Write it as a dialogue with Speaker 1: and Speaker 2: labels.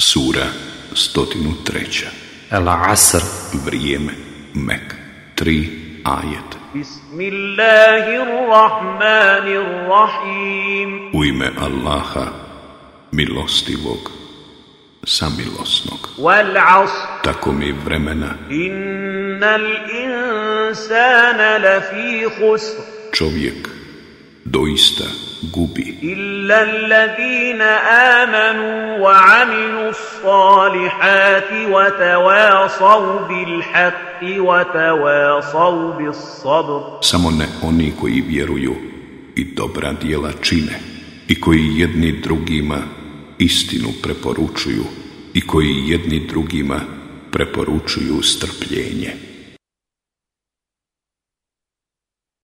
Speaker 1: Sura 103.
Speaker 2: العصر
Speaker 1: Vrijeme. Mek. 3 ajet.
Speaker 3: بسم الله الرحمن الرحيم
Speaker 1: U ime Allaha, milostivog, samilosnog.
Speaker 3: والعصر
Speaker 1: Tako mi vremena
Speaker 3: إن الإنسان لفي خسر
Speaker 1: čovjek doista gubi,
Speaker 3: إلا الذين آمنوا وعملوا الصالحات وتواصوا بالحق وتواصوا بالصبر
Speaker 1: samo ne oni koji vjeruju i dobra djela čine i koji jedni drugima istinu preporučuju i koji jedni drugima preporučuju strpljenje.